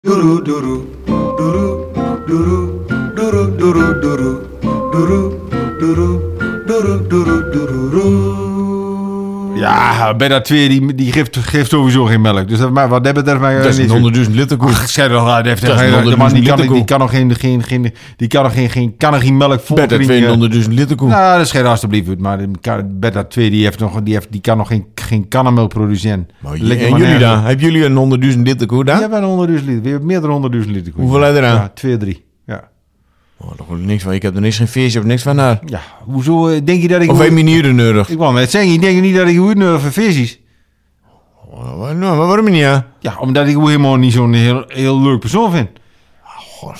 Doeroe, doeroe, doeroe, doeroe, doeroe, doeroe, doeroe, doeroe, doeroe, doeroe, doeroe, doeroe. Ja, Bernard Tweer, die, die geeft, geeft sowieso geen melk. Dus dat, maar wat hebben dat maar... Dat is niet- een honderdduizend liter koe. Ach, schijt toch uit, heeft Dat is geen- een de man die kan, liter koe. die kan nog geen, geen, geen, die kan nog geen, geen, kan eh, nog geen melk vol Bert, dat drinken. twee honderdduizend liter koe. Nou, dat scheelt alstublieft uit, maar die kan- Bert dat 2 die, heeft nog, die, heeft, die kan nog geen, geen kannenmelk produceren. Maar Lekker Nou, en maar jullie nergens. dan? Hebben jullie een honderdduizend liter koe Ja, daar? we hebben honderdduizend liter. We hebben meerdere honderdduizend liter. koeien. Hoeveel heb je eraan? Ja, twee, drie. Ja. Oh, daar hoor ik niks van. Ik heb er niks geen visje, ik heb niks van naar. ja, hoezo eh, denk je dat ik... Of een manier nodig. Ik wou net zeggen, ik denk niet dat ik goed nodig voor vis is. Oh, wa- nou, maar waarom niet? Ja? Ja, omdat ik hoe helemaal niet zo'n heel, heel leuk persoon vind.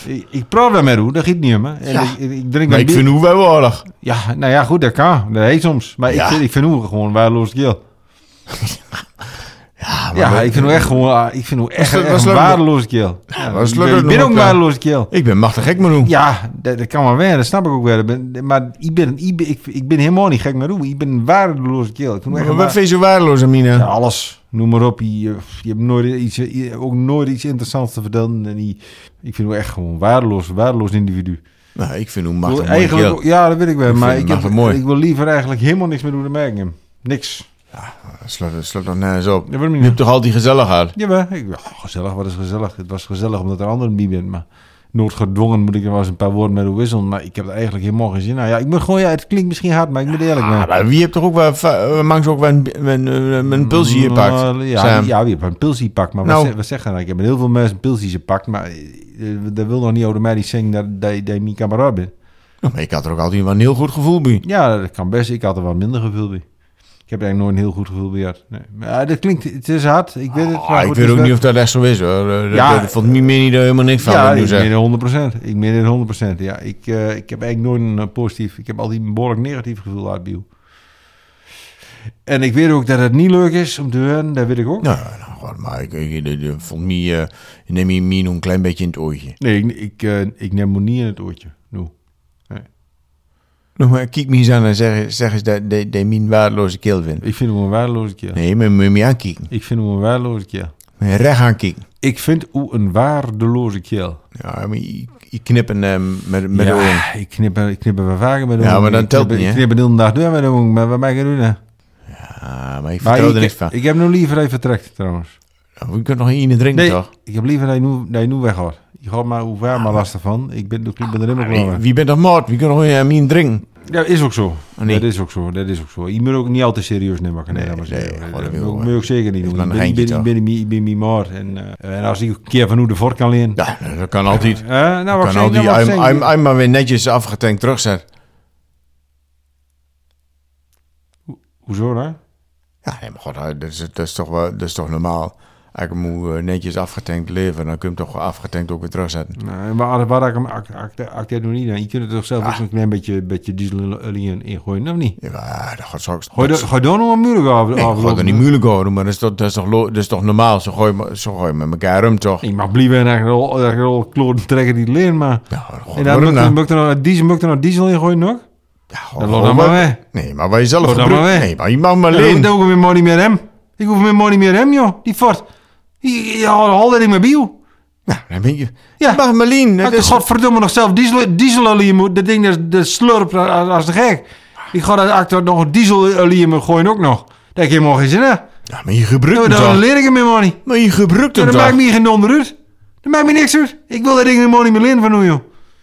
Ik, ik praat wel met hoe, dat gaat niet om. hè. En Ja. ik, ik, ik drink Maar mijn ik bier- vind hoe wij waardig. Ja, nou ja, goed, dat kan. Dat heet soms. Maar Ja. ik, vind, ik vind hoe gewoon waardeloos geel. Ja, maar Ja, wij- ik vind hoe echt gewoon... ah, Ik vind hoe echt, dat- echt was een leuk. waardeloos geel. Ja, was ik leuk ben- ik nog ben op, ook ja. waardeloos geel. ik ben machtig gek, maar hoe? Ja, dat, dat kan wel weer, dat snap ik ook wel. Dat ben- Maar ik ben, ik, ben, ik, ik ben helemaal niet gek met hoe. Ik ben een waardeloos geel. Ik vind hoe echt Maar een wat wa- vind je zo waardeloos, Amina? Ja, alles. Noem maar op. Je, je hebt nooit iets, je- ook nooit iets interessants te vertellen. En die, ik vind hem echt gewoon waardeloos, waardeloos individu. Nou, ik vind hoe Ik machtig wil mooi eigenlijk, geel. ja, dat weet ik wel. Ik maar vind ik, hem heb, machtig mooi. ik wil liever eigenlijk helemaal niks meer doen dan Merkingham. Niks. Sluit sluit nog nergens op. Ja, waarom Je niet? hebt toch altijd gezelligheid? Jawel. Ik, ja, gezellig, wat is gezellig? Het was gezellig omdat er anderen bij bent. Maar nooit gedwongen moet ik er wel eens een paar woorden met de wisselen. Maar ik heb er eigenlijk helemaal geen zin in. Nou ja, ik moet gewoon, ja, het klinkt misschien hard, maar ik moet eerlijk Ah, zijn. maar wie hebt toch ook wel... fa- eh, Mangs ook wel een, een, een, een pulsje hier pakt, Nou, Ja, Sam? ja, we hebben een pilsie gepakt. Maar Nou. wat, zeg, wat zeggen dan? Ik heb met heel veel mensen pilsies gepakt. Maar eh, dat wil nog niet automatisch zeggen dat, dat, je- dat je mijn kameraad bent. Nou, maar ik had er ook altijd wel een heel goed gevoel bij. Ja, dat kan best. Ik had er wat minder gevoel bij. Ik heb er eigenlijk nooit een heel goed gevoel bij gehad. Nee. Maar ja, dat klinkt... Het is hard. Ik weet het. Ah, maar ik goed, weet het ook is niet wel- of dat echt zo is, hoor. Eh, Dat, Ja, dat vond Mimini er eh, helemaal niks van. Ja, wat ik ik nu zeg. meen het 100%. Ik meen het 100%. Ja, ik, eh, ik heb eigenlijk nooit een eh, positief... Ik heb altijd een behoorlijk negatief gevoel uit bij jou. En ik weet ook dat het niet leuk is om te horen. Dat weet ik ook. Nou, nou, god, maar ik, ik, ik- ik vond Mie... eh, ik neem je Mie nog een klein beetje in het oortje. Nee, ik, ik, eh, ik neem me niet in het oortje. No. Nou, maar kijk Mie eens aan en zeg, zeg eens dat dat- dat Mie een waardeloze keel vindt. Ik vind hem een waardeloze kerel. Nee, maar moet je me aankijken. Ik vind hem een waardeloze kerel. Moet je recht aankijken. Ik vind hoe een waardeloze kerel. Ja, maar je, je knippen eh, met, met de oren. ja, ik knip, er- ik knip er wel vaker met de Ja, ogen. maar dat ik telt knip, niet, Ik hè? knip er de hele dag door met de ogen, maar wat mag ik doen? hè? Ah, maar ik Maar vertrouw er ik, niks van. ik heb nu liever even vertrekt, trouwens. Nou, we kunnen nog één drinken, Nee, toch? ik heb liever dat je nu, dat je nu weg gaat. Je gaat maar hoe waar maar lastig van. Ik ben, ik ben er helemaal klaar mee. Ah, Wie bent toch moord? Wie kan nog een één eh, drinken? Ja, is ook zo. nee. Dat is ook zo. Dat is ook zo. Je moet ook niet al te serieus nemen. Kan ik Nee, nou maar nee, zeggen. gewoon dat een moet wil, ik- moet ik ook zeker niet is doen. maar Ik een ben, ik geintje, ben, ik ben, ik ben, ik ben niet maar. En, eh, en als ik een keer van hoe de vork kan leren. Ja, dat kan altijd. Eh, nou, wat zeg kan je? altijd. Nou, wat I'm, zeg I'm, je? I'm maar weer netjes afgetankt terugzet. Hoezo nou? Ja, nee, maar god, dat is, dat is, toch, wel, dat is toch normaal. Ik moet eh, netjes afgetankt leven. Dan kun je hem toch afgetankt ook weer terugzetten. Nee, maar waar ik hem acteer nog niet aan. Je kunt er toch zelf ook een klein beetje, beetje diesel en olie in, in gooien, of niet? Ja, dat gaat zo... Gooi dat- dat- Gooi dan nog een muur af. Nee, ik ga er niet moeilijk over doen, maar dat is toch, dat is toch, lo- dat is toch normaal? Zo gooi, je me- zo gooi je met elkaar om, toch? Ik mag blijven en eigenlijk al- eigenlijk al kloten trekken die leer, maar... Ja, god, en dan waarom moet nou? er- moet er nog diesel, moet er nog diesel in gooien nog? Ja, god, Dan god, loopt dat maar wat- weg. Nee, maar waar je zelf Loop dan gebruikt- maar weg. Nee, maar je mag maar Ja, dan alleen... hoef ik mijn money meer hem. Ik hoef mijn money meer hem, joh. Die Ford. Je haalt dat in mijn bio. Nou, dan ben je... Ja. Je mag maar alleen. Ik Dat heb is godverdomme nog zelf diesel, dieselolie in moet. Dat ding dat, dat slurpt als, als de gek. Ik ga dat actor nog dieselolie in me gooien ook nog. Daar heb ik helemaal geen zin in. Ja, maar je gebruikt Ja, hem maar dan toch? leer ik hem helemaal niet. Maar je gebruikt Ja, hem dat toch? maakt me hier geen donder uit. Dat maakt me niks uit. Ik wil dat ding helemaal niet meer leren van hoe, joh.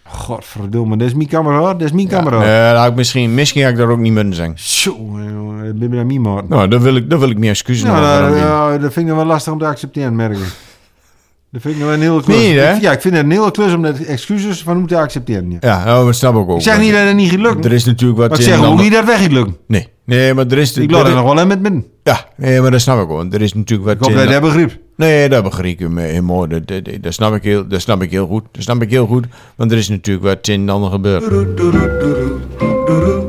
Godverdomme, dat is mijn camera. Dat is mijn camera. Nee, dat had ik misschien, misschien had ik dat ook niet moeten zeggen. Zo, jongen, eh, dat ben je dan niet, man. Nou, dan wil ik, dan wil ik meer excuses Nou, nog dat, aanbieden. ja, dat vind ik nog wel lastig om te accepteren, merk ik. Dat vind ik nog wel een hele klus. Meen je dat? Ik- ja, ik vind het een hele klus om dat excuses van hoe te accepteren. ja. Ja, nou, dat snap ik ook. Ik zeg Want niet dat het niet gaat lukken. Er is natuurlijk wat... maar ik in zeg en ook ander- niet dat weg gaat lukken. Nee, nee, maar er is... Ik er- laat er- het nog wel in met midden. Ik Ja, nee, maar dat snap ik gewoon. Er is natuurlijk wat... hoop in dat je en- dat begrip. Nee, dat begrijp ik me helemaal. Dat, dat, dat snap ik heel, dat snap ik heel goed. Dat snap ik heel goed. Want er is natuurlijk wat het een en ander gebeurd. Doeroe, doeroe, doeroe, doeroe,